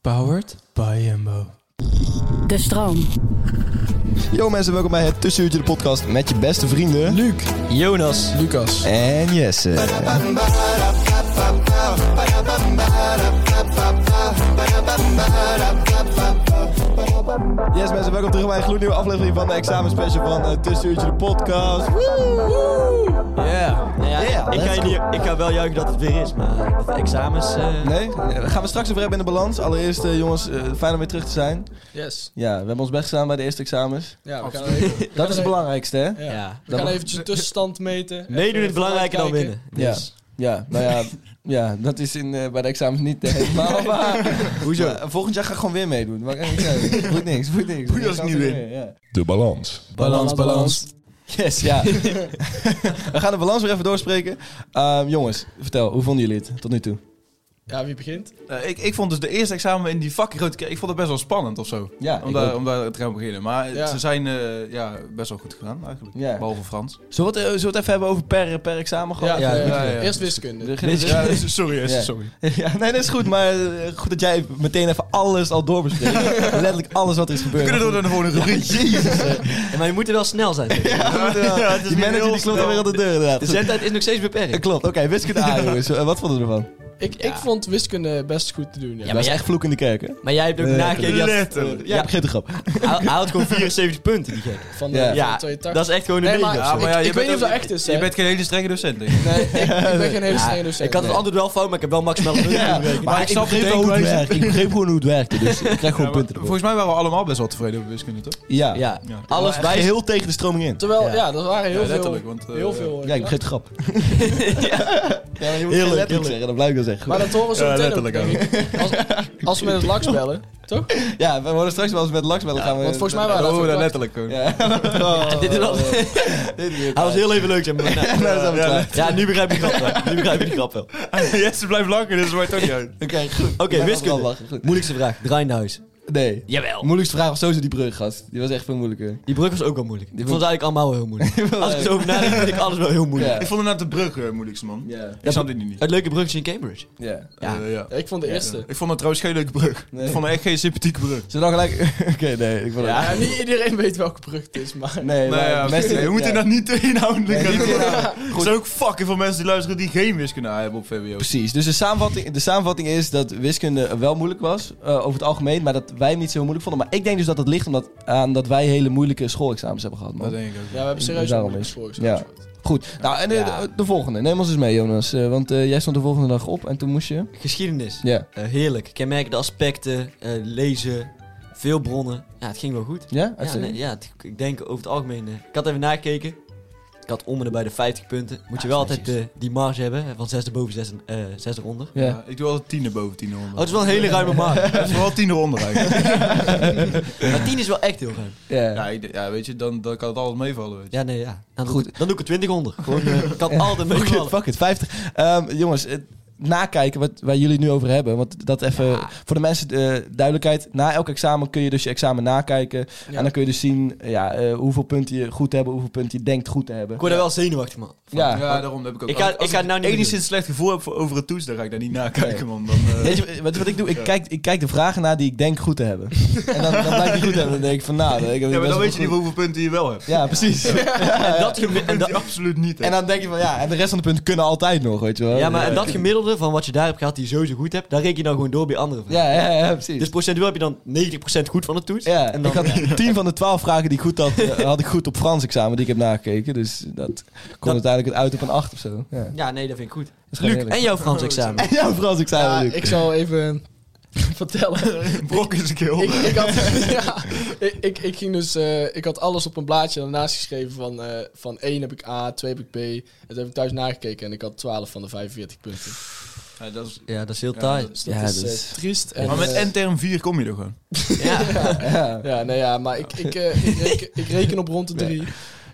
Powered by Jumbo. De stroom. Yo mensen, welkom bij het Tussenuurtje de podcast met je beste vrienden... Luc, Jonas Lucas. en Jesse. Yes mensen, welkom terug bij een gloednieuwe aflevering van de examenspecial van het Tussenuurtje de podcast. Yeah. Nou Ja, Yeah, ik, let's ga je niet- ik ga wel juichen dat het weer is, maar de examens... eh, Nee, daar gaan we straks over hebben in de balans. Allereerst eh, jongens, eh, fijn om weer terug te zijn. Yes. Ja, we hebben ons best gedaan bij de eerste examens. Ja, we gaan Absoluut. even, we gaan Dat is het even- belangrijkste hè? Ja. Ja. We gaan Dat- eventjes de tussenstand meten. Meedoen is Even belangrijker dan kijken. winnen. Ja. Dus. Ja, nou ja, ja dat is in, eh, bij de examens niet eh, helemaal waar. Hoezo? volgend jaar ga ik gewoon weer meedoen. Maar ik zeggen, voet niks, voet niks. Hoe als ik niet win? Ja. De balans. Balans, balans. Yes, ja. We gaan de balans weer even doorspreken. Ehm, jongens, vertel, hoe vonden jullie het tot nu toe? Ja, wie begint? Eh, ik, ik vond dus de eerste examen in die fucking grote kerk, ik vond het best wel spannend of zo. Ja, om, ik daar, ook. om daar te gaan beginnen. Maar Ja. ze zijn eh, ja, best wel goed gedaan eigenlijk. Ja. Behalve Frans. Zullen we, het, eh, zullen we het even hebben over per, per examen? Ja, Gewoon? ja, ja. ja, ja. Eerst wiskunde. Ja, dus- sorry, Ja. sorry. Ja, nee, dat is goed, maar eh, goed dat jij meteen even alles al doorbespreekt. Letterlijk alles wat er is We gebeurd. kunnen door naar de volgende rubriek. Jezus, eh. Ja, maar je moet er wel snel zijn. Ja, het is die manager die heel klopt snel. weer aan de deur inderdaad. Dus De zendtijd is nog steeds Eh, beperkt. Klopt, oké, wiskunde A jongens. Eh, Wat vonden we ervan? Ik, ik vond wiskunde best goed te doen. Ja. Ja, dat maar is jij- echt vloek in de kerk, hè? Maar jij hebt ook Nee, nagekeken. je had- letterlijk. Ja, Ja, begint de grap. hij, hij had gewoon 74 punten, die gek. Van de Ja. van de Ja, 82. dat is echt gewoon een Nee, nee, maar- Ja, maar ja, Ik- je ik bent weet niet of ook- dat echt is, hè? Je bent geen hele strenge docent, denk ik. Nee, ik, ik ben geen hele strenge docent. Ik had het Nee. antwoord wel fout, maar ik heb wel maximaal punten. Ja, gekregen. maar ik, snap begreep meteen wel hoe het hoe hij- werkte. Ik begreep gewoon hoe het werkte, dus ik krijg gewoon Ja, maar punten ervoor. volgens mij waren we allemaal best wel tevreden over wiskunde, toch? Ja, Ja, Ja. alles bij bij heel tegen de stroming in. Terwijl, Ja. ja, dat waren heel Ja, veel. letterlijk, want, eh, Heel veel. eh, Ja, ik begreep de grap. Ja, maar je moet Heel geen leuk, letterlijk. heel zeggen, dat blijf ik wel zeggen. Maar dat horen ze Ja, meteen ook, letterlijk denk ik. Als, als we met het laks bellen, toch? ja, we worden straks wel eens met laksbellen gaan we... Want volgens mij Ja, waren dat dat horen we ook dan laks- letterlijk gewoon. Ja. Oh, Dit is al... dit is weer Hij was heel even leuk, zeg maar. Nou, Ja, dat is ja, alweer klaar. ja, nu begrijp ik de grap wel. Nu begrijp ik de grap wel. Jesse blijft langer, dus het maakt toch niet uit. Oké, goed. Oké, Ik ben wiskunde. wel lachen, goed. Moeilijkste vraag. Draaienhuis. Nee. Jawel. Moeilijkste vraag was sowieso die brug, gast. Die was echt veel moeilijker. Die brug was ook wel moeilijk. Ik Die vond het eigenlijk allemaal wel heel moeilijk. Als ik zo over nadenk, vind ik alles wel heel moeilijk. Ja. Ik vond inderdaad de brug eh, moeilijkste, man. Ja. Ik snap dit niet. Het leuke bruggetje in Cambridge. Ja. Ja. Eh, ja. Ja, Ik vond de eerste. Ik vond het trouwens geen leuke brug. Nee. Ik vond het echt geen sympathieke brug. Zullen we dan gelijk... Oké, nee, ik vond het... Ja, niet iedereen weet welke brug het is, maar... Nee, Nee, maar ja, mensen- nee, we moeten ja. dat niet te inhoudelijk Nee, gaan niet doen. inhoudelijk. Er zijn ook fucking veel mensen die luisteren die geen wiskunde hebben op VWO. Precies. Dus de samenvatting, de samenvatting is dat wiskunde wel moeilijk was, eh, over het algemeen, maar dat wij hem niet zo moeilijk vonden. Maar ik denk dus dat dat ligt omdat, aan dat wij hele moeilijke schoolexamens hebben gehad, Dat man. denk ik ook. Ja, we hebben serieus Daarom een moeilijke is- schoolexamen ja. gehad. Goed. Nou, en de, de- de volgende. Neem ons eens mee, Jonas. eh, want eh, jij stond de volgende dag op en toen moest je... Geschiedenis. Ja. Eh, heerlijk. Kenmerkende aspecten, eh, lezen, veel bronnen. Ja, het ging wel goed. Ja? Ja, Uitstekend. nee, ja het- ik denk over het algemeen... eh, ik had even nakeken. Ik had om en bij de 50 punten. Moet je wel altijd eh, die marge hebben eh, van 6 boven 6 eh 6 eronder. Ja. Ja, ik doe altijd tienen boven tienen Oh, onder. het is wel een hele ruime marge. Het is vooral tienen onder eigenlijk. Maar 10 is wel echt heel ruim. Ja. ja, ik- ja, weet je, dan, dan kan het altijd meevallen. Weet je. Ja, nee, ja. Dan Goed. Doe ik, dan doe ik er 20 onder. Gewoon, eh, ik kan altijd Fuck it, meevallen. fuck it, 50. Ehm, jongens, het nakijken wat, waar jullie het nu over hebben. Want dat even voor de mensen eh, duidelijkheid. Na elk examen kun je dus je examen nakijken. Ja. En dan kun je dus zien eh, ja, eh, hoeveel punten je goed hebt, hoeveel punten je denkt goed te hebben. Ik word er wel zenuwachtig, man. Ja. Ja, daarom heb ik ook. Ik ga- als- als ik ga het nou niet meer enigszins slecht gevoel heb voor, over het toets, dan ga ik daar niet naar kijken, man. Dan, eh, Weet je wat, wat ik doe? Ik kijk, ik kijk de vragen na die ik denk goed te hebben. En dan, dan blijkt die goed te hebben. Dan denk ik van nou, ik heb het ja, maar best dan wel weet je niet goed. hoeveel punten je wel hebt. Ja, precies. En dat, gemi- en En dat- die absoluut niet. hè. En dan denk je van ja, en de rest van de punten kunnen altijd nog, weet je wel. ja, maar en dat gemiddelde gemiddelde van wat je daar hebt gehad, die je sowieso goed hebt, daar reken je dan gewoon door bij andere vragen. Ja, ja, ja, precies. Dus procentueel heb je dan 90% goed van de toets. ja, en dan, ik had 10 van de 12 vragen die ik goed had, eh, had ik goed op Frans examen die ik heb nagekeken. Dus dat kon Dat- uiteindelijk het uit op een 8 of zo. Ja. ja, nee, dat vind ik goed. is gewoon Luc, eerlijk. en jouw Frans examen. En jouw Frans examen, Ja, Luc? ik zal even vertellen. Brok is een ik, ik, had, ja, ik, ik, ik ging dus, eh, ik had alles op een blaadje daarnaast geschreven van, eh, van 1 heb ik A, 2 heb ik B. En toen heb ik thuis nagekeken en ik had 12 van de 45 punten. Ja, dat is... Ja, dat is heel Ja, taai. Dus dat Ja, is dat eh, is- triest. En, Maar met eh, N-term 4 kom je er gewoon. Ja. Ja, nee, ja, maar ik, ik, eh, ik, reken, ik reken op rond de 3.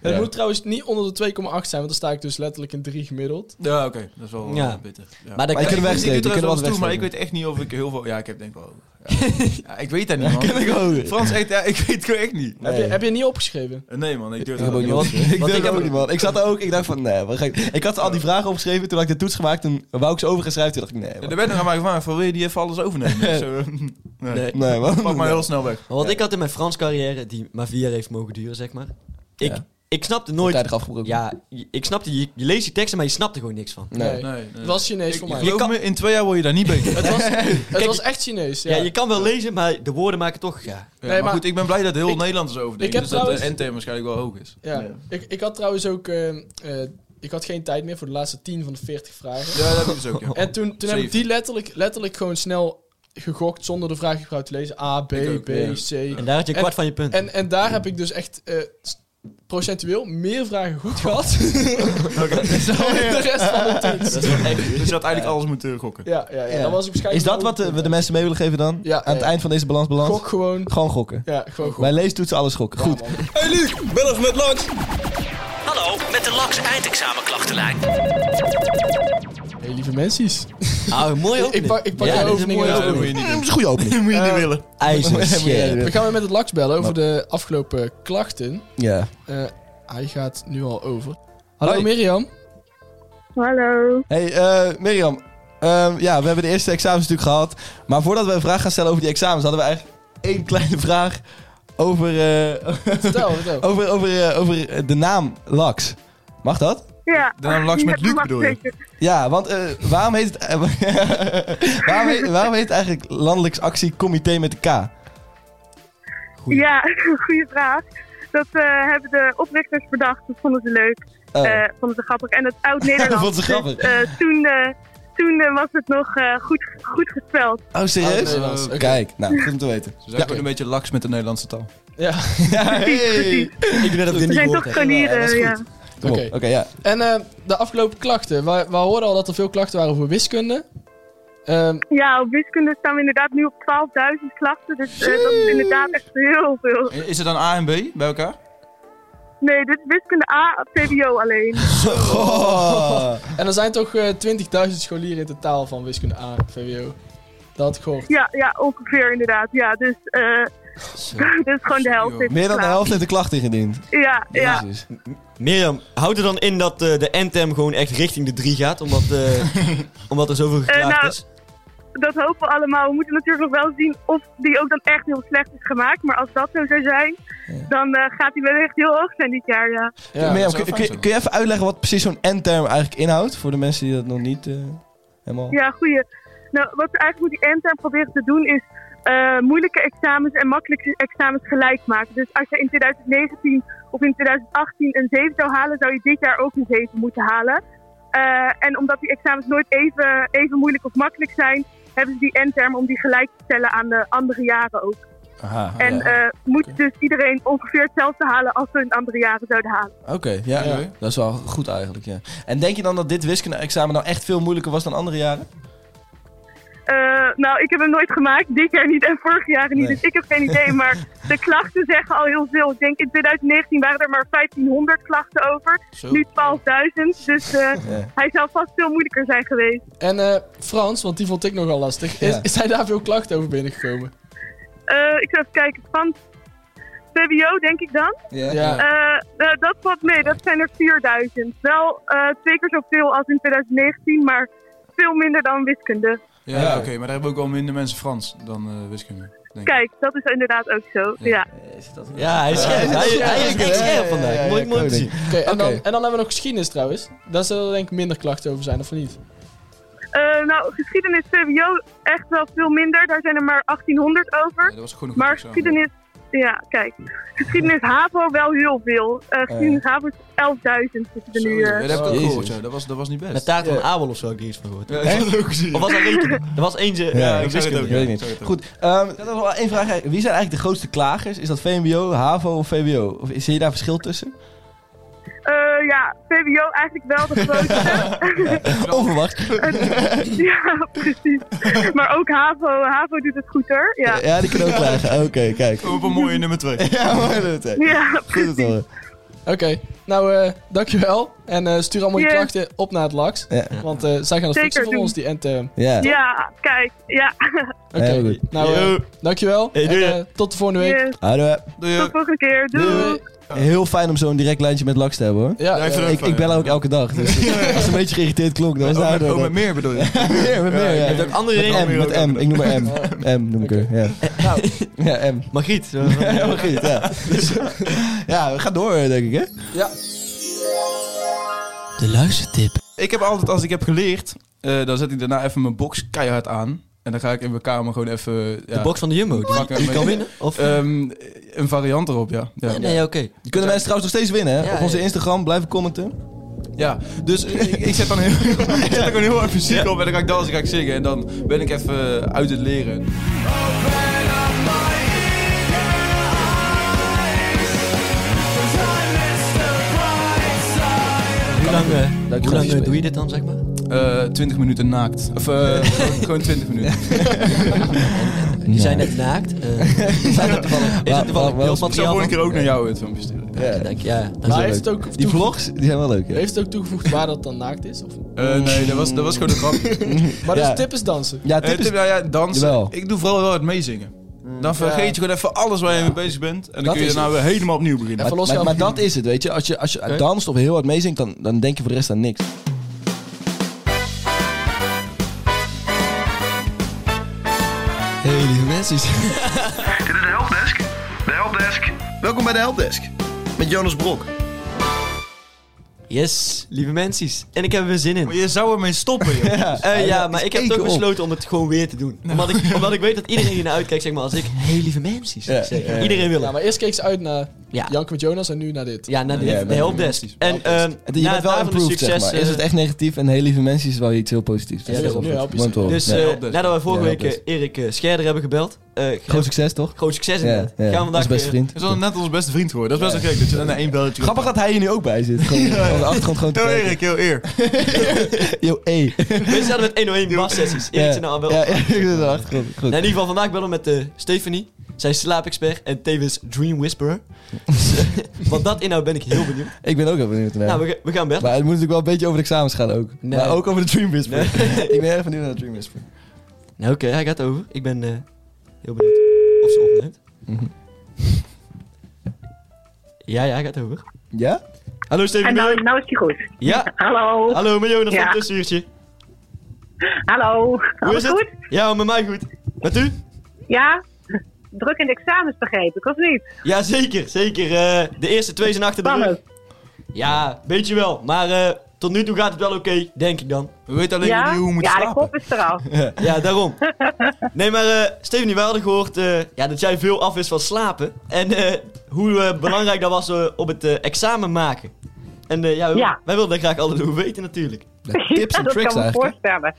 Het Ja. moet trouwens niet onder de 2,8 zijn, want dan sta ik dus letterlijk in 3 gemiddeld. Ja, oké. Dat is wel Ja. eh, bitter. Ja. Maar dat Maar je kan- kunt Ik- ik doe wegsteken, je trouwens kunt er wel wat eens toe, maar ik wegsteken. weet echt niet of ik heel veel... Ja, ik heb denk wel... Ja, Ja, ik weet dat niet, man. Ken ik ook. Frans, echt, ja, ik weet het gewoon echt niet. Heb, je, heb je niet opgeschreven? Eh, Nee, man, ik durf Ik heb dat ook niet wel. opgeschreven. Ik want durf ik heb- ook niet, man. Ik zat er ook, ik dacht van, nee, wat ga ik... Ik had al die vragen opgeschreven, toen had ik de toets gemaakt, toen wou ik ze overgeschreven, toen dacht ik, nee, Ja, man. Er werd nog aan mij gevraagd van wil je die even alles overnemen? Ik zo, eh, nee. Nee. Nee, man. Pak maar heel snel weg. Maar wat ik had in mijn Frans carrière, die maar vier jaar heeft mogen duren, zeg maar. Ik, Ja. ik snapte nooit... Tijdig afgebroken. Ja, je- ik snapte... Je, je leest die teksten, maar je snapt er gewoon niks van. Nee. Nee. Nee, Het was Chinees Ik- voor je mij. geloof kan- me, in twee jaar word je daar niet beter. Het was, het Kijk, was echt Chinees. Ja, Ja, je kan wel lezen, maar de woorden maken toch... Ja. Ja, Nee, maar, maar- goed, ik ben blij dat heel Ik- Nederland is ik overdenkt. heb Dus dat de trouwens- NTM waarschijnlijk wel hoog is. Ja. Ik, ik had trouwens ook... eh, eh, ik had geen tijd meer voor de laatste 10 van de 40 vragen. Ja, dat heb ik dus ook, ja. En toen, toen heb ik Zeven. die letterlijk, letterlijk gewoon snel gegokt zonder de vraag überhaupt te lezen. A, B, Ik ook, B, ja. C. En daar had je En- een kwart van je punt. En, en daar heb ik dus echt eh, s- procentueel meer vragen goed gehad dan de rest van de Dat toets. is wel echt... Dus je had eigenlijk alles moeten gokken. Ja, ja, ja. Ja. Dat was ik waarschijnlijk Is dat wat eh, we de mensen mee willen geven dan? Ja, Aan het ja. eind van deze balansbalans? Gok gewoon. Gewoon gokken. Ja, gewoon goed. Bij leestoetsen alles gokken. Goed. Hallo, met de LAX eindexamenklachtenlijn. Hey, lieve mensen. Ah, mooi ook. Ik pak, ik pak Ja, jouw dit is opening een mooie even dat over. moet je niet doen. is een goede opening. Dat moet je niet willen. IJzerschel. We gaan weer met het laks bellen over de afgelopen klachten. Ja. Eh, hij gaat nu al over. Hallo Hoi. Mirjam. Hallo. Hey, eh, Mirjam. Ehm, ja, we hebben de eerste examens natuurlijk gehad. Maar voordat we een vraag gaan stellen over die examens, hadden we eigenlijk één kleine vraag over, eh, Vertel, vertel. over, over, eh, over eh, de naam Lax. Mag dat? Ja. De naam Laks Die met heb ik Luc maar bedoel je? gezeten. Ja, want eh, waarom, heet het, waarom, heet, waarom heet het eigenlijk Landelijks Actiecomité met de K? Oh, Ja, goede vraag. Dat eh, hebben de oprichters bedacht. Dat vonden ze leuk. Oh. eh, vonden ze grappig. En het oud-Nederlands. Vonden ze grappig. Dus, eh, toen eh, toen eh, was het nog eh, goed, goed gespeld. Oh, serieus? Oud-Nederlands, oké. Kijk, nou, goed om te weten. Ze zijn gewoon een beetje laks met de Nederlandse taal. Ja, Ja, hey. Precies. Ik ben dat ik dit We niet zijn gehoord toch heb. scholieren. dat is ja. goed. Kom op. oké. Oké, ja. En eh, de afgelopen klachten. We, we hoorden al dat er veel klachten waren voor wiskunde. Ehm, ja, op wiskunde staan we inderdaad nu op 12.000 klachten. Dus eh, dat is inderdaad echt heel veel. Is het dan A en B bij elkaar? Nee, dit is wiskunde A, VWO alleen. Oh. en er zijn toch eh, 20.000 scholieren in totaal van wiskunde A, VWO. Dat had ik gehoord. Ja, ja ongeveer inderdaad. Ja, dus eh dus gewoon de helft. heeft Meer dan de geslaagd. helft heeft de klacht ingediend. Ja, Nou. ja. Jezus. Mirjam, houdt er dan in dat eh, de NTM gewoon echt richting de 3 gaat? Omdat, eh, omdat er zoveel geklaagd nou, is? dat hopen we allemaal. We moeten natuurlijk nog wel zien of die ook dan echt heel slecht is gemaakt. Maar als dat zo zou zijn, dan eh, gaat die wellicht heel hoog zijn dit jaar, ja. Mirjam, dat zou kun, fijn kun- zijn. kun je even uitleggen wat precies zo'n N-term eigenlijk inhoudt? Voor de mensen die dat nog niet eh, helemaal... Ja, goeie. Nou, wat we eigenlijk met die endterm proberen te doen is eh, moeilijke examens en makkelijke examens gelijk maken. Dus als je in 2019 of in 2018 een 7 zou halen, zou je dit jaar ook een 7 moeten halen. Eh, en omdat die examens nooit even, even moeilijk of makkelijk zijn, hebben ze die endterm om die gelijk te stellen aan de andere jaren ook. Aha, En ja. eh, moet dus iedereen ongeveer hetzelfde halen als we in andere jaren zouden halen. Oké, ja, Ja. ja, dat is wel goed eigenlijk, ja. En denk je dan dat dit wiskunde-examen nou echt veel moeilijker was dan andere jaren? Eh, nou, ik heb hem nooit gemaakt. Dit jaar niet en vorig jaar niet. Nee. Dus ik heb geen idee. Maar de klachten zeggen al heel veel. Ik denk in 2019 waren er maar 1500 klachten over. Nu 12.000. Dus eh, hij zou vast veel moeilijker zijn geweest. En eh, Frans, want die vond ik nogal lastig. Is, Ja. zijn daar veel klachten over binnengekomen? Eh, ik zou even kijken. Van VWO denk ik dan. Ja. Ja. Eh, eh, dat valt mee. Dat zijn er 4000. Wel eh, twee keer zoveel als in 2019. Maar veel minder dan wiskunde. Ja, Ja. oké, maar daar hebben ook wel minder mensen Frans dan eh, wiskunde. denk ik. Kijk, dat is inderdaad ook zo. Ja. Ja, hij is scherp. Hij, hij is echt scherp vandaag. Ja, ja, mooi, ja, mooi om te ik zien. ook Oké, en, dan, Oké. en dan hebben we nog geschiedenis trouwens. Daar zullen er denk ik minder klachten over zijn, of niet? Eh, nou, geschiedenis VWO echt wel veel minder. Daar zijn er maar 1800 over. dat was gewoon een goed Maar examen. geschiedenis, ja, kijk. Geschiedenis HAVO wel heel veel. Eh, geschiedenis HAVO is 11.000 zitten er Zo, nu. ja, eh. dat heb ik ook Jezus. gehoord, ja. Dat was, dat was niet best. Met taart van Abel of zo heb ik hier iets van gehoord. Ja, dat heb ik ook gezien. Of was dat rekenen? Er was eentje. Ja, eh, ik zag het wiskunde. ook, Ik weet het Ja, niet. sorry, toch. Goed, ehm, ik had nog wel één vraag. eigenlijk. Wie zijn eigenlijk de grootste klagers? Is dat VMBO, HAVO of VWO? Of is hier daar verschil tussen? Eh, ja, VWO eigenlijk wel de grootste. Onverwacht. ja, precies. Maar ook HAVO. HAVO doet het goed hoor. Ja, Ja, die kunnen ook klagen. Oké, kijk. Kom op een mooie nummer 2. Ja, mooi dat het. ja Goed het horen. Oké, nou eh, dankjewel. En eh, stuur allemaal Yes. je klachten op naar het LAX. Ja. Want eh, zij gaan het Zeker fixen voor doen. ons, die endterm. Ja. ja, kijk. Ja, Oké, Heel goed. nou eh, dankjewel. Hey, en, doei. eh, tot de volgende week. yes. Hallo. Doei. Tot volgende keer. Doei. Heel fijn om zo'n direct lijntje met Laks te hebben hoor. Ja, Ja, ik eh, vind het Ik, ik bel haar ook elke dag. Dus als ze een beetje geïrriteerd klonk, dan was het Ook haar met, dat. ook met meer bedoel je? Met meer, met meer, Ja, ja. ik heb ook andere Met M, redenen. met M. Ik noem maar M. M noem ik haar, ja. Ja, M. Margriet. eh, Ja, maar goed, ja. Ja, we gaan door eh, denk ik hè. De luistertip. Ik heb altijd, als ik heb geleerd, eh, dan zet ik daarna even mijn box keihard aan. En dan ga ik in mijn kamer gewoon even... De box van de Jumbo. Die, Fuck, die maar- kan winnen. Of, Ehm, een variant erop, ja. ja. nee, nee, ja, oké. Die kunnen mensen trouwens nog steeds winnen hè. Ja, Op onze ja. Instagram, blijven commenten. Ja, dus eh, ik, ik zet dan heel, ik zet dan gewoon heel hard muziek op en dan ga ik dansen, ga ik zingen. En dan ben ik even uit het leren. Hoe lang, eh, Dank je hoe lang wel. eh, doe je dit dan, zeg maar? Eh 20 minuten naakt. Of eh, gewoon- gewoon 20 minuten. Die zijn net naakt. eh, is dat toevallig, is Wel- dat toevallig wel- wel- Ik zal beeldmateriaal volgende van? keer ook naar jou het filmpje sturen. Ja. Ik Denk, ja, Die dat Maar zijn heeft het leuk. ook Die toege- vlogs, die zijn wel leuk ja. Heeft het ook toegevoegd waar dat dan naakt is? Of... Eh, nee, dat was, dat was gewoon een grap. Maar Ja. dus tip is dansen. Ja, Eh, tip is... tip, nou ja, dansen. Jawel. Ik doe vooral wel het meezingen. Mm. Dan vergeet je gewoon even alles waar je mee bezig bent. En dan Dat kun je is daarna weer helemaal opnieuw beginnen. Maar, Even maar, losgaan maar van dat is het, weet je. Als je, als je danst of heel hard meezingt, dan, dan denk je voor de rest aan niks. Hey, lieve mensen. Dit is de helpdesk. De helpdesk. Welkom bij de helpdesk. Met Jonas Brok. Yes, lieve mensen. En ik heb er weer zin in. Maar je zou ermee stoppen, joh. Eh, ja, dat maar is ik heb één het ook keer op. besloten om het gewoon weer te doen. Omdat ik, omdat ik weet dat iedereen hier naar uitkijkt, zeg maar, als ik... Hey, lieve mensen. Ja, zeg. eh, ja, ja. Iedereen wil Ja, het. maar eerst keek ze uit naar Ja. Janke met Jonas en nu naar dit. Ja, naar de, Ja, de nee, helpdesk. En ehm Het- Je na bent het wel avond improved, succes... zeg maar. Is eh, het echt negatief en heel lieve mensen is wel iets heel positiefs. Dus Ja, dat nu is wel goed. help je Mooi om ze. te horen. Dus Ja. eh, helpdesk. nadat wij vorige Ja, week eh, helpdesk. Erik eh, Scherder hebben gebeld... eh, Groot succes, toch? groot succes Ja, inderdaad. ja. Gaan we Onze vandaag beste weer... vriend. Dat is al net onze beste vriend geworden. Dat is best wel gek dat je dan naar één belletje... Grappig dat hij hier nu ook bij zit. Gewoon van de achtergrond gewoon te Heel kijken. Erik, heel eer. Yo, hey. We zaten met 101 bassessies. Erik Ja, zit nou al wel... Ja, ja, ik zit aan de achtergrond. Goed. Nou, in ieder geval, vandaag bellen we met eh, Stephanie. Zij is slaapexpert en tevens dream whisperer. Dus, eh, wat dat inhoudt ben ik heel benieuwd. Ik ben ook heel benieuwd naar. Nou, we, we gaan bellen. Maar het moet natuurlijk wel een beetje over de examens gaan ook. Nee. Maar ook over de Dream Whisper. ik ben erg benieuwd naar de Dream Whisper. Nou, oké, hij gaat over. Ik ben eh, heel benieuwd of ze opneemt. ja, ja, hij gaat over. Ja? Hallo En Steven. nou, nou is hij goed. Ja, Hallo. hallo met Jonas van Ja. het tussenuurtje. Hallo. Hoe Alles is goed? het? Ja, met mij goed. Met u? Ja? Druk in de examens begreep ik, of niet? Ja, zeker, zeker. Eh, de eerste twee zijn achter de Spannend. rug. Ja, weet je wel. Maar eh, tot nu toe gaat het wel oké, denk ik dan. We weten alleen nog Ja? niet hoe we moeten Ja, de slapen. kop is eraf. Ja, daarom. Nee, maar eh Stephanie, wij hadden gehoord eh, ja, dat jij veel af is van slapen. En eh, hoe eh, belangrijk dat was eh, op het eh, examen maken. En eh, ja, we- Ja. wij wilden dat graag alle hoe weten natuurlijk. Tips en dat tricks kan me eigenlijk. voorstellen.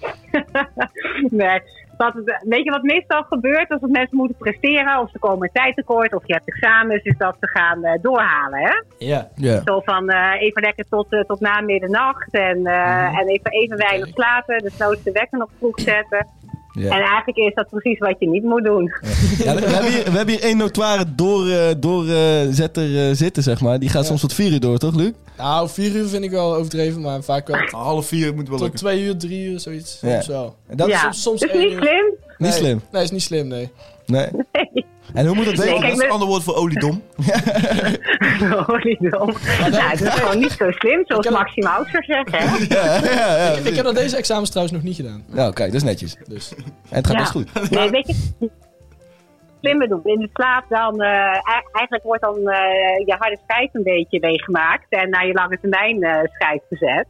nee. Wat, weet je wat meestal gebeurt? Als mensen moeten presteren of ze komen tijd tekort of je hebt examens, is dat ze gaan eh, doorhalen. Hè? Ja. Ja. Zo van eh, even lekker tot, eh, tot na middernacht en, eh, Mhm. en even, even weinig slapen, dus nooit de wekker nog vroeg zetten. En Ja. eigenlijk is dat precies wat je niet moet doen. Ja, we, hebben hier, we hebben hier één notoire doorzetter door, eh, zetter, eh, zitten, zeg maar. Die gaat soms tot vier uur door, toch, Luc? Nou, vier uur vind ik wel overdreven, maar vaak wel Half vier moet wel tot lukken. twee uur, drie uur, zoiets. Ja. Soms wel. En dat ja. is soms- soms dus één niet uur. slim. niet Nee, slim. Nee, is niet slim, nee. Nee. En hoe moet dat Nee, weten? kijk, Dat is een ander woord voor oliedom. Holy dom. Nou, dat is gewoon niet zo slim, zoals Ik heb- Maxime Oudser zegt. Hè? Ik heb dat deze examens trouwens nog niet gedaan. Nou, kijk, dat is netjes. Dus. En het gaat Ja. best goed. Nee, weet je, slimmer doen. In de slaap dan, eh, e- eigenlijk wordt dan eh, je harde schijf een beetje leeggemaakt en naar je lange termijn eh schijf gezet.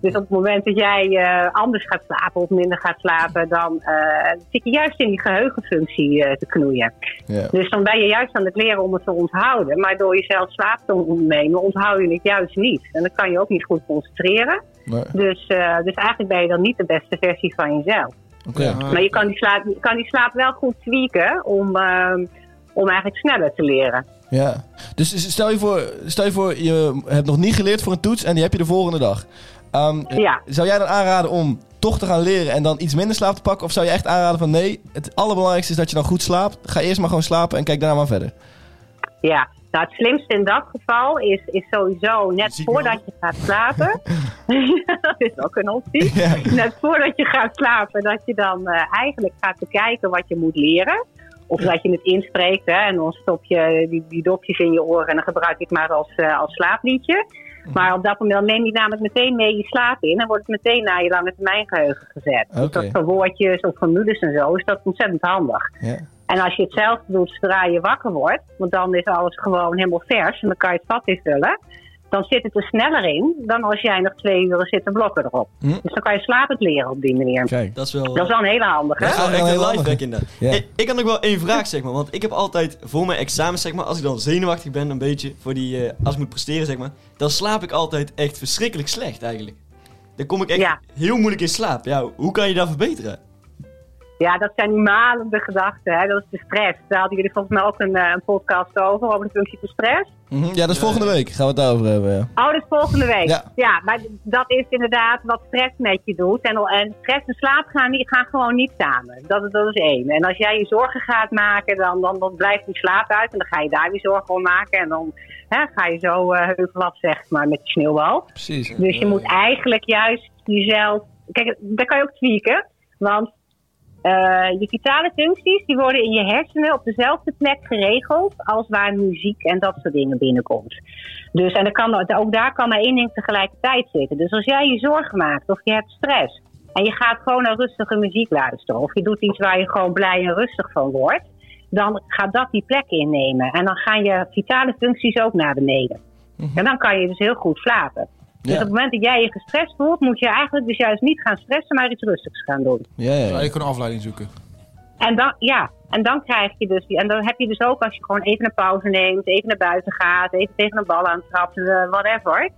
Dus op het moment dat jij eh, anders gaat slapen of minder gaat slapen, dan eh, zit je juist in die geheugenfunctie eh, te knoeien. Ja. Dus dan ben je juist aan het leren om het te onthouden. Maar door jezelf slaap te ontnemen, onthoud je het juist niet. En dan kan je ook niet goed concentreren. Nee. Dus, eh, dus eigenlijk ben je dan niet de beste versie van jezelf. Oké. Maar je kan die slaap, je kan die slaap wel goed tweaken om, ehm, om eigenlijk sneller te leren. Ja. Dus stel je, voor, stel je voor, je hebt nog niet geleerd voor een toets en die heb je de volgende dag. Ehm, Ja. Zou jij dan aanraden om toch te gaan leren en dan iets minder slaap te pakken? Of zou je echt aanraden van nee, het allerbelangrijkste is dat je dan goed slaapt. Ga eerst maar gewoon slapen en kijk daarna maar verder. Ja, nou het slimste in dat geval is, is sowieso net voordat je gaat slapen. dat is ook een optie. Net voordat je gaat slapen, dat je dan eh, eigenlijk gaat bekijken wat je moet leren. Of dat je het inspreekt hè, en dan stop je die, die dopjes in je oren en dan gebruik je het maar als, eh, als slaapliedje. Mhm. Maar op dat moment neem je namelijk meteen mee je slaap in en wordt het meteen naar je lange termijn geheugen gezet. Dus Oké. dat voor woordjes of formules en zo is dat ontzettend handig. Ja. En als je het zelf doet zodra je wakker wordt, want dan is alles gewoon helemaal vers en dan kan je het vat invullen, dan zit het er sneller in dan als jij nog twee uren zit te blokken erop. Hm. Dus dan kan je slapend leren op die manier. Kijk. Dat is wel... Dat is wel een hele handige. Dat is wel Ja, echt heel een handig. lifehack inderdaad. Ja. Ik, ik had nog wel één vraag, zeg maar. Want ik heb altijd voor mijn examens, zeg maar, als ik dan zenuwachtig ben een beetje, voor die, eh, als ik moet presteren, zeg maar, dan slaap ik altijd echt verschrikkelijk slecht eigenlijk. Dan kom ik echt Ja. heel moeilijk in slaap. Ja, hoe kan je daar verbeteren? Ja, dat zijn die malende gedachten. Hè? Dat is de stress. Daar hadden jullie volgens mij ook een, eh, een podcast over, over de functie van stress. Mhm, Ja, dat is volgende week. Gaan we het daarover hebben. Ja. Oh, dat is volgende week. Ja. Ja. maar dat is inderdaad wat stress met je doet. En, en stress en slaap gaan, die gaan gewoon niet samen. Dat, dat is één. En als jij je zorgen gaat maken, dan, dan, dan blijft die slaap uit. En dan ga je daar weer zorgen om maken. En dan hè, ga je zo eh heuvel af, zeg maar, met je sneeuwbal. Precies. Dus je moet eigenlijk juist jezelf. Kijk, daar kan je ook tweaken. Want eh, je vitale functies die worden in je hersenen op dezelfde plek geregeld als waar muziek en dat soort dingen binnenkomt. Dus en er kan, ook daar kan maar één ding tegelijkertijd zitten. Dus als jij je zorgen maakt of je hebt stress en je gaat gewoon naar rustige muziek luisteren of je doet iets waar je gewoon blij en rustig van wordt, dan gaat dat die plek innemen en dan gaan je vitale functies ook naar beneden. En dan kan je dus heel goed slapen. Dus Ja. op het moment dat jij je gestrest voelt, moet je eigenlijk dus juist niet gaan stressen, maar iets rustigs gaan doen. Ja, ja, ja. je kan een afleiding zoeken. En dan, ja, en dan krijg je dus, die- en dan heb je dus ook als je gewoon even een pauze neemt, even naar buiten gaat, even tegen een bal aan trapt, eh, whatever.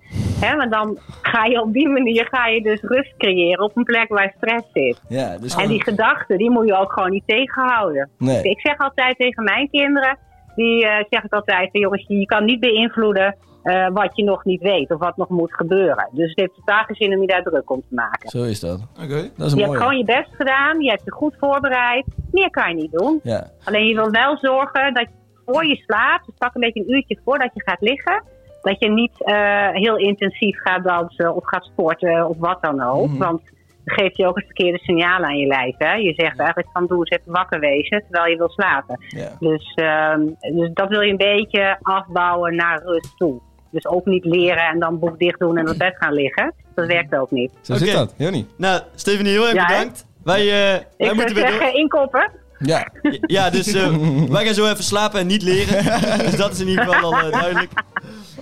Hè, want dan ga je op die manier ga je dus rust creëren op een plek waar stress zit. Ja, dus En die gedachten, die moet je ook gewoon niet tegenhouden. Nee. Ik zeg altijd tegen mijn kinderen, die eh, zeg ik altijd, van, jongens, je kan niet beïnvloeden eh, wat je nog niet weet of wat nog moet gebeuren. Dus het heeft totaal geen zin om je daar druk om te maken. Zo is dat. Oké. Dat is Je een hebt gewoon mooie. je best gedaan, je hebt je goed voorbereid. Meer kan je niet doen. Ja. Alleen je wil wel zorgen dat je voor je slaapt, dus pak een beetje een uurtje voordat je gaat liggen, dat je niet eh, heel intensief gaat dansen of gaat sporten of wat dan ook. Mhm. Want dan geef je ook het verkeerde signaal aan je lijf. Hè? Je zegt eigenlijk van doe eens even wakker wezen terwijl je wil slapen. Ja. Dus, ehm, dus dat wil je een beetje afbouwen naar rust toe. Dus ook niet leren en dan boek dicht doen en op bed gaan liggen. Dat werkt ook niet. Zo Oké. zit dat. Johnny. Nou, Stephanie, heel erg Ja, hè? bedankt. Wij, eh, wij Ik moeten zou weer door. zeggen inkoppen. Ja. Ja, dus eh, wij gaan zo even slapen en niet leren. dus dat is in ieder geval al eh, duidelijk.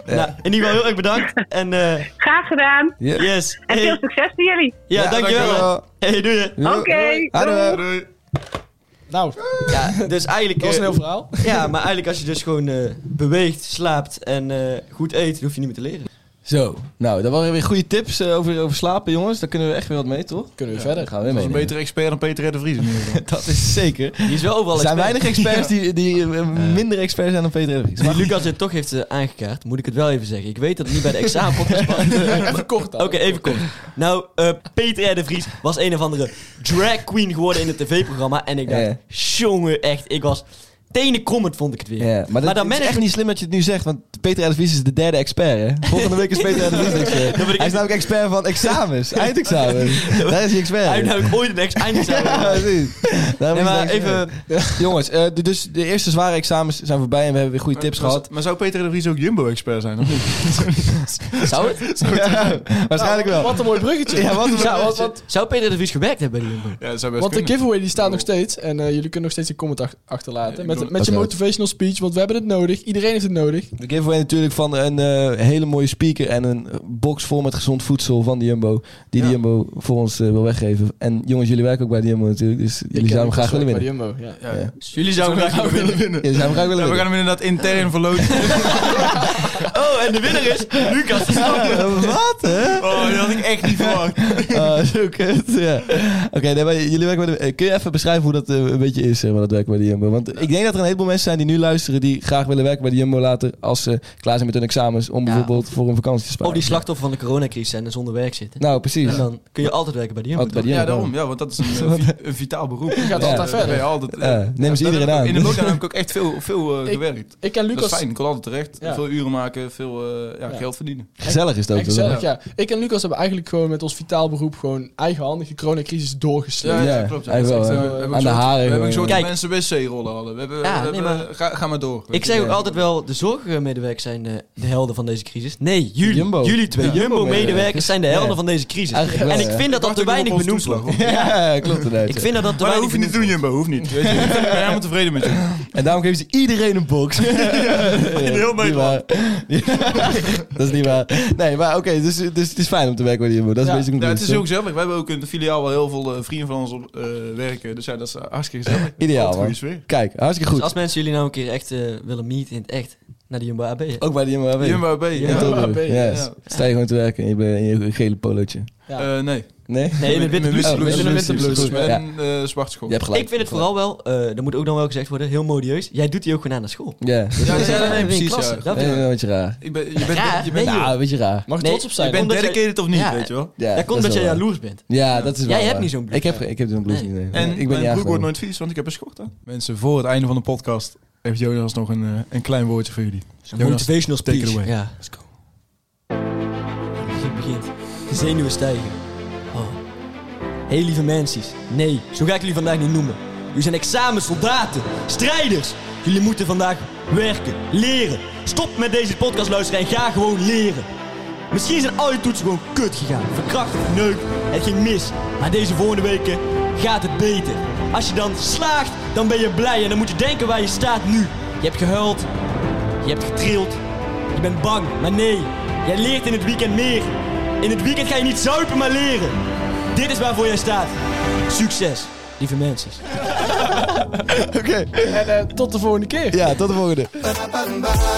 Nou, in ieder geval heel erg bedankt. En eh, Graag gedaan. Ja. yes. En Hey, veel succes voor jullie. ja, dankjewel. Hey, doe je. Oké. Hallo. Nou, dat Ja, dus eigenlijk... was een eh, heel verhaal. Ja, maar eigenlijk als je dus gewoon eh, beweegt, slaapt en eh, goed eet, dan hoef je niet meer te leren. Zo, nou, dat waren weer goede tips eh, over, over slapen, jongens. Daar kunnen we echt weer wat mee, toch? Kunnen we Daar verder. gaan we weer Dat is mee. een betere expert dan Peter R. de Vries. in ieder geval. Dat is zeker. Er Die is wel overal zijn expert. weinig experts die, die eh, minder experts zijn dan Peter Edwards. Die Lucas dit toch heeft eh, aangekaart, moet ik het wel even zeggen. Ik weet dat het niet bij de examenpodcast past. Even kort dan. Oké, even kort. Nou, eh, Peter R. de Vries was een of andere drag queen geworden in het tv-programma. En ik dacht, Ja. jongen, echt, ik was... Tenen krommend vond ik het weer. Ja, maar dat dan is echt niet slim dat je het nu zegt, want Peter Edwards is de derde expert, hè? Volgende week is Peter Edwards de expert. ben ik- Hij is namelijk expert van examens, eindexamens. Daar is hij expert Hij in. heeft namelijk ooit een eindexamen. Ja, precies. Daarom Nee, is hij maar expert. even... Jongens, eh, de- dus de eerste zware examens zijn voorbij en we hebben weer goede tips Maar- gehad. Maar zou Peter R. de Vries ook Jumbo-expert zijn? Of niet? Zou, het, Ja, waarschijnlijk wel. Wat een mooi bruggetje. Ja, wat een Ja, want- bruggetje. want- zou Peter R. de Vries gewerkt hebben bij die jongen? Ja, dat zou best Want de kunnen. giveaway die staat nog steeds. En eh, jullie kunnen nog steeds een comment ach- achterlaten. Ik met Met, met je motivational speech, want we hebben het nodig. Iedereen heeft het nodig. De giveaway natuurlijk van een eh, hele mooie speaker en een box vol met gezond voedsel van de Jumbo. Die de Jumbo voor ons eh, wil weggeven. En jongens, jullie werken ook bij de Jumbo natuurlijk. Dus jullie zouden hem graag willen winnen. Jumbo, ja. Ja. Ja. Jullie zouden graag willen winnen. Jullie zouden hem graag willen Ja, winnen. we gaan hem inderdaad intern verloten. Oh, en de winnaar is Lucas. Eh, Wat, hè? Oh, dat had ik echt niet verwacht. Ah, zo kut, ja. Oké, nee, maar jullie werken bij de... eh, Kun je even beschrijven hoe dat eh, een beetje is, zeg maar, dat werken bij de Jumbo? Want ik denk dat er een heleboel mensen zijn die nu luisteren... die graag willen werken bij de Jumbo later... als ze klaar zijn met hun examens... om Ja. bijvoorbeeld voor een vakantie te sparen. Of die slachtoffer van de coronacrisis zijn en zonder werk zitten. Nou, precies. En dan kun je altijd werken bij de Jumbo. Altijd bij de Ja, Jumbo. daarom. Ja, want dat is een, eh, vi- een vitaal beroep. Je gaat altijd verder. altijd, Ja, neem ze dat iedereen heb ik- aan. In de lockdown heb ik ook echt veel, veel eh, Ik- gewerkt. Ik en Dat is Lucas... fijn, ik kon altijd terecht. Ja. Veel uren maken, veel eh, ja, Ja. geld verdienen. Gezellig is dat ook. en gezellig, wel. ja. Ik en Lucas hebben eigenlijk gewoon met ons vitaal beroep gewoon eigenhandig de coronacrisis doorgesleept. Ja, ja, klopt, ja. eigenlijk wel, eh, We hè. hebben ook Aan de soort- haren We hebben gewoon. een soort Kijk. mensen wc-rollen hadden. We hebben, Ja, we nee, hebben- maar- ga, ga maar door. Ik zeg ook altijd wel, de zorgmedewerkers zijn eh, de helden van deze crisis. Nee, jullie. Jumbo. Jullie twee Ja. Jumbo-medewerkers zijn de helden Ja. van deze crisis. Eigenlijk wel, En ik ja. vind dat dat te weinig benoemd wordt. Ja, klopt inderdaad. Ik vind dat dat te Maar dat weinig hoef je niet te benoemd doen, Jumbo. Hoeft niet. Weet je, ik ben helemaal tevreden met je. En daarom geven ze iedereen een box. heel Niet waar. dat is niet waar. Nee, maar oké, dus, dus het is fijn om te werken bij de Jumbo. Dat is Ja, basic Ja, nou, het conclusie, is heel gezellig. We hebben ook in de filiaal wel heel veel eh, vrienden van ons op eh, werken. Dus ja, dat is hartstikke gezellig. Ideaal, Altijd goede man. sfeer. wordt. Kijk, hartstikke Dus goed. als mensen jullie nou een keer echt eh, willen meeten in het echt, naar de Jumbo AB. Ook bij de Jumbo AB. Jumbo B. In Tilburg, AB, yes. ja. Sta je gewoon te werken in je, in je gele polootje. Eh, nee. Nee? Nee, in de witte witte blouse. blouse. Met Met een een witte blouse. blouse. En eh, zwart school. Je hebt gelijk. Ik vind het vooral wel, eh, dat moet ook dan wel gezegd worden, heel modieus. Jij doet die ook gewoon aan naar school. Ja, dat is Ja, ja, nee, in de precies, klasse, ja. dat dat is vind ik- een beetje raar. Ik ben, je bent, Raar, nee, je bent, joh. Nou, een beetje raar. Mag ik Nee, trots op je zijn? bent Omdat jij- dedicated of niet, Ja. weet je wel. Ja, dat komt is omdat jij wel waar. jaloers bent. Ja, dat is wel Jij hebt waar. niet zo'n blouse. Ik heb, ge- ik heb zo'n blouse Nee. niet. nee. En ik ben niet mijn broek wordt aangenomen. nooit vies, want ik heb een schort aan. Mensen, voor het einde van de podcast heeft Jonas nog een, eh, een klein woordje voor jullie. Jonas, motivational take it speech. away. Ja. Let's go. Het begint. De zenuwen stijgen. Oh. Hey lieve mensen. Nee, zo ga ik jullie vandaag niet noemen. Jullie zijn examensoldaten, strijders. Jullie moeten vandaag werken, leren. Stop met deze podcast luisteren en ga gewoon leren. Misschien zijn al je toetsen gewoon kut gegaan. Verkracht, neuk, het ging mis. Maar deze volgende weken gaat het beter. Als je dan slaagt, dan ben je blij en dan moet je denken waar je staat nu. Je hebt gehuild, je hebt getrild. Je bent bang, maar nee. Jij leert in het weekend meer. In het weekend ga je niet zuipen, maar leren. Dit is waarvoor jij staat. Succes, lieve mensen. En eh, tot de volgende keer. Ja, tot de volgende.